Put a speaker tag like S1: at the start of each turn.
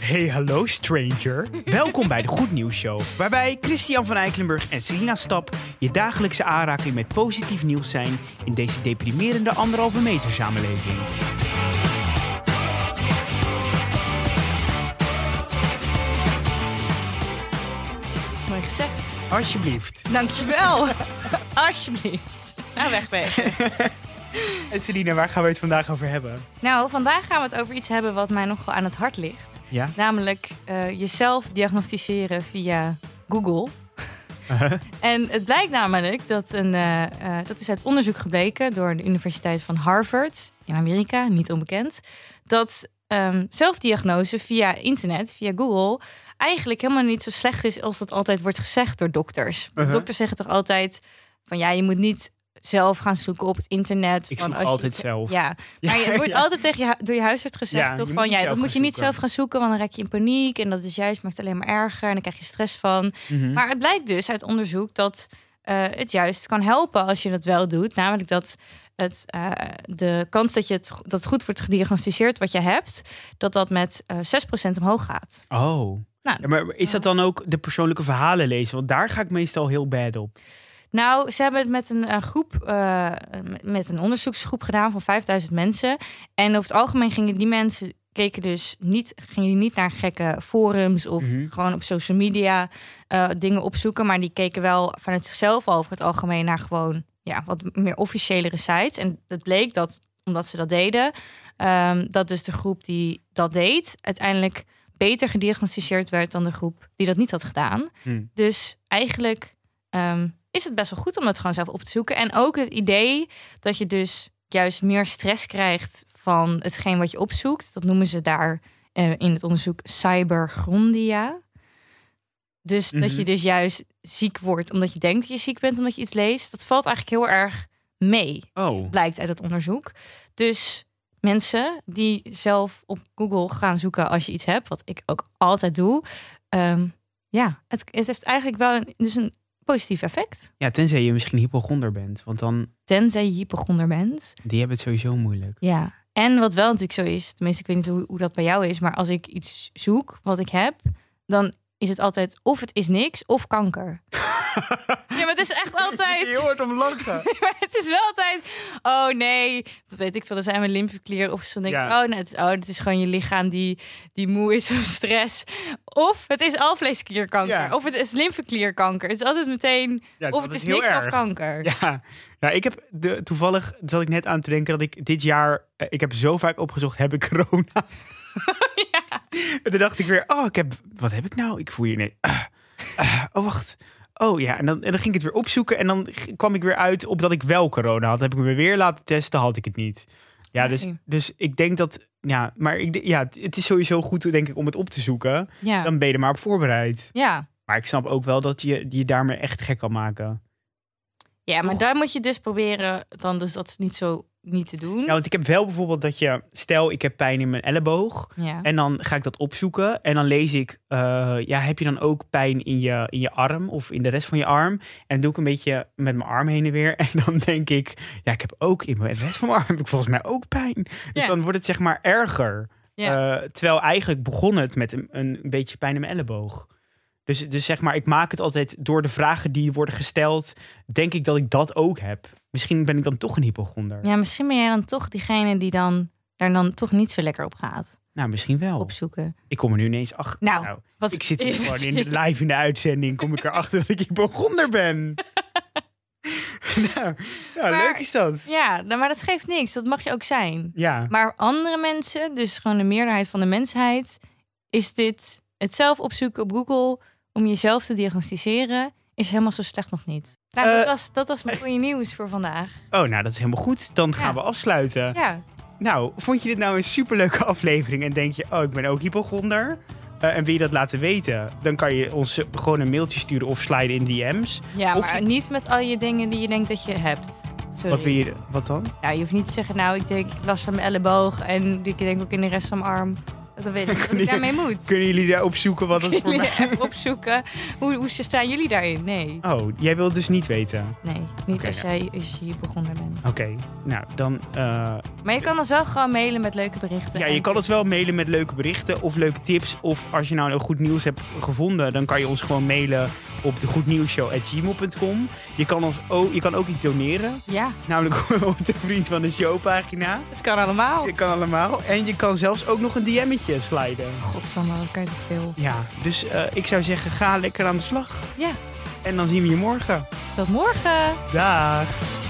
S1: Hey hallo stranger. Welkom bij de Goed Nieuws Show, waarbij Christian van Eikelenburg en Selina Stap je dagelijkse aanraking met positief nieuws zijn in deze deprimerende anderhalve meter samenleving.
S2: Mooi gezegd.
S1: Alsjeblieft.
S2: Dankjewel. Alsjeblieft. Nou, wegwezen.
S1: En Selina, waar gaan we het vandaag over hebben?
S2: Nou, vandaag gaan we het over iets hebben wat mij nogal aan het hart ligt.
S1: Ja.
S2: Namelijk eh, jezelf diagnosticeren via Google.
S1: Uh-huh.
S2: En het blijkt namelijk dat een, eh, eh, dat is uit onderzoek gebleken door de Universiteit van Harvard in Amerika, niet onbekend, dat ehm, zelfdiagnose via internet, via Google, eigenlijk helemaal niet zo slecht is als dat altijd wordt gezegd door dokters. Want
S1: Uh-huh.
S2: Dokters zeggen toch altijd van ja, je moet niet zelf gaan zoeken op het internet.
S1: Ik
S2: van
S1: zoek
S2: als je
S1: altijd
S2: iets-
S1: zelf.
S2: Ja, maar je- het wordt
S1: ja.
S2: altijd tegen je, hu- door je huisarts gezegd,
S1: Ja, je
S2: toch?
S1: moet
S2: Van
S1: niet
S2: ja,
S1: zelf
S2: dat
S1: gaan
S2: moet je niet
S1: zoeken.
S2: zelf gaan zoeken, want dan raak je in paniek. En dat is juist, maakt het alleen maar erger. En dan krijg je stress van.
S1: Mhm.
S2: Maar het blijkt dus uit onderzoek dat eh, het juist kan helpen als je dat wel doet. Namelijk dat het, eh, de kans dat, je het, go- dat goed wordt gediagnosticeerd wat je hebt, dat dat met eh 6% omhoog gaat.
S1: Oh.
S2: Nou,
S1: Ja, maar is dat dan ook de persoonlijke verhalen lezen? Want daar ga ik meestal heel bad op.
S2: Nou, ze hebben het met een, eh, groep, eh, met een onderzoeksgroep gedaan van 5000 mensen. En over het algemeen gingen die mensen keken dus niet, gingen die niet naar gekke forums of
S1: Mhm.
S2: gewoon op social media eh, dingen opzoeken. Maar die keken wel vanuit zichzelf al over het algemeen naar gewoon ja, wat meer officiëlere sites. En het bleek dat, omdat ze dat deden, ehm, dat dus de groep die dat deed, uiteindelijk beter gediagnosticeerd werd dan de groep die dat niet had gedaan.
S1: Hmm.
S2: Dus eigenlijk ehm, is het best wel goed om dat gewoon zelf op te zoeken. En ook het idee dat je dus juist meer stress krijgt van hetgeen wat je opzoekt. Dat noemen ze daar eh, in het onderzoek cybergrondia. Dus dat
S1: Mhm.
S2: je dus juist ziek wordt omdat je denkt dat je ziek bent omdat je iets leest. Dat valt eigenlijk heel erg mee,
S1: Oh.
S2: blijkt uit het onderzoek. Dus mensen die zelf op Google gaan zoeken als je iets hebt, wat ik ook altijd doe. ehm, ja, het, het heeft eigenlijk wel een, dus een positief effect.
S1: Ja, tenzij je misschien hypochonder bent. Want dan,
S2: Tenzij je hypochonder bent.
S1: die hebben het sowieso moeilijk.
S2: Ja. En wat wel natuurlijk zo is, tenminste, ik weet niet hoe, hoe dat bij jou is, maar als ik iets zoek wat ik heb, dan is het altijd of het is niks of kanker. ja, maar het is echt altijd.
S1: hard om lachen.
S2: Maar het is wel altijd. Oh nee, dat weet ik veel. Er zijn mijn lymfeklier of zo. Dan denk ik,
S1: Ja.
S2: oh, nou, het is, oh, dit is gewoon je lichaam die, die moe is of stress. Of het is alvleesklierkanker.
S1: Ja.
S2: Of het is lymfeklierkanker. Het is altijd meteen.
S1: Ja,
S2: of het is niks of kanker.
S1: Ja, ja ik heb de, toevallig zat ik net aan te denken dat ik dit jaar, eh, ik heb zo vaak opgezocht, heb ik corona. En toen dacht ik weer, oh, ik heb, wat heb ik nou? Ik voel je nee. ah, ah, oh, wacht. Oh ja, en dan, en dan ging ik het weer opzoeken en dan g- kwam ik weer uit op dat ik wel corona had. Heb ik me weer laten testen, had ik het niet. Ja, dus,
S2: Nee.
S1: dus ik denk dat, ja, maar ik, d- ja, het- het is sowieso goed denk ik om het op te zoeken.
S2: Ja.
S1: Dan ben je er maar op voorbereid.
S2: ja.
S1: Maar ik snap ook wel dat je je daarmee echt gek kan maken.
S2: Ja, maar
S1: Toch?
S2: daar moet je dus proberen dan dus dat niet zo niet te doen.
S1: Ja, want ik heb wel bijvoorbeeld dat je, stel ik heb pijn in mijn elleboog.
S2: ja.
S1: En dan ga ik dat opzoeken en dan lees ik, eh, ja, heb je dan ook pijn in je, in je arm of in de rest van je arm? En doe ik een beetje met mijn arm heen en weer. En dan denk ik, ja, ik heb ook in mijn de rest van mijn arm heb ik volgens mij ook pijn. Dus
S2: Ja.
S1: dan wordt het zeg maar erger.
S2: Ja.
S1: Eh, terwijl eigenlijk begon het met een, een beetje pijn in mijn elleboog. Dus, dus zeg maar, ik maak het altijd door de vragen die worden gesteld, denk ik dat ik dat ook heb. Misschien ben ik dan toch een hypochonder.
S2: ja, misschien ben jij dan toch diegene die dan daar dan toch niet zo lekker op gaat
S1: Nou, misschien wel.
S2: opzoeken.
S1: Ik kom er nu ineens achter.
S2: Nou, Wat
S1: ik zit hier gewoon in de, live in de uitzending. Kom ik erachter dat ik hypochonder ben. nou, nou
S2: Maar-
S1: leuk is dat. Ja.
S2: Ja, nou, maar dat geeft niks. Dat mag je ook zijn. Maar andere mensen, dus gewoon de meerderheid van de mensheid, is dit het zelf opzoeken op Google om jezelf te diagnosticeren is helemaal zo slecht nog niet. Nou, dat,
S1: Eh.
S2: was, dat was mijn goede nieuws voor vandaag.
S1: Oh, nou, dat is helemaal goed. Dan gaan
S2: Ja.
S1: we afsluiten.
S2: Ja,
S1: Nou, vond je dit nou een superleuke aflevering en denk je, oh, ik ben ook hypochonder? Eh, en wil je dat laten weten? Dan kan je ons eh, gewoon een mailtje sturen of sliden in DM's.
S2: ja
S1: Of
S2: maar
S1: je-
S2: niet met al je dingen die je denkt dat je hebt. Sorry.
S1: Wat wil je, wat dan?
S2: Ja, je hoeft niet te zeggen, nou, ik denk ik was van mijn elleboog en ik denk ook in de rest van mijn arm. Dat weet ik niet wat
S1: Kun
S2: ik
S1: je-
S2: daarmee moet.
S1: Kunnen jullie daar opzoeken wat het
S2: Kunnen
S1: voor
S2: jullie
S1: mij...
S2: even opzoeken? Hoe, hoe staan jullie daarin? Nee.
S1: Oh, jij wilt dus niet weten.
S2: Nee, niet
S1: Oké,
S2: als,
S1: ja.
S2: jij, als je hier begonnen bent.
S1: Oké, nou dan... eh,
S2: Maar je kan ons wel gewoon mailen met leuke berichten.
S1: ja,
S2: en
S1: je kan het
S2: tips.
S1: wel mailen met leuke berichten of leuke tips. Of als je nou een goed nieuws hebt gevonden, dan kan je ons gewoon mailen op degoednieuwsshow.gmail.com. Je kan, ons ook, je kan ook iets doneren,
S2: Ja,
S1: namelijk op de Vriend van de Show pagina.
S2: het kan allemaal.
S1: Je kan allemaal. En je kan zelfs ook nog een DM'tje sliden.
S2: Godsamme, wat kan je toch veel.
S1: Ja, dus eh, ik zou zeggen, ga lekker aan de slag.
S2: Ja,
S1: En dan zien we je morgen.
S2: tot morgen.
S1: Dag.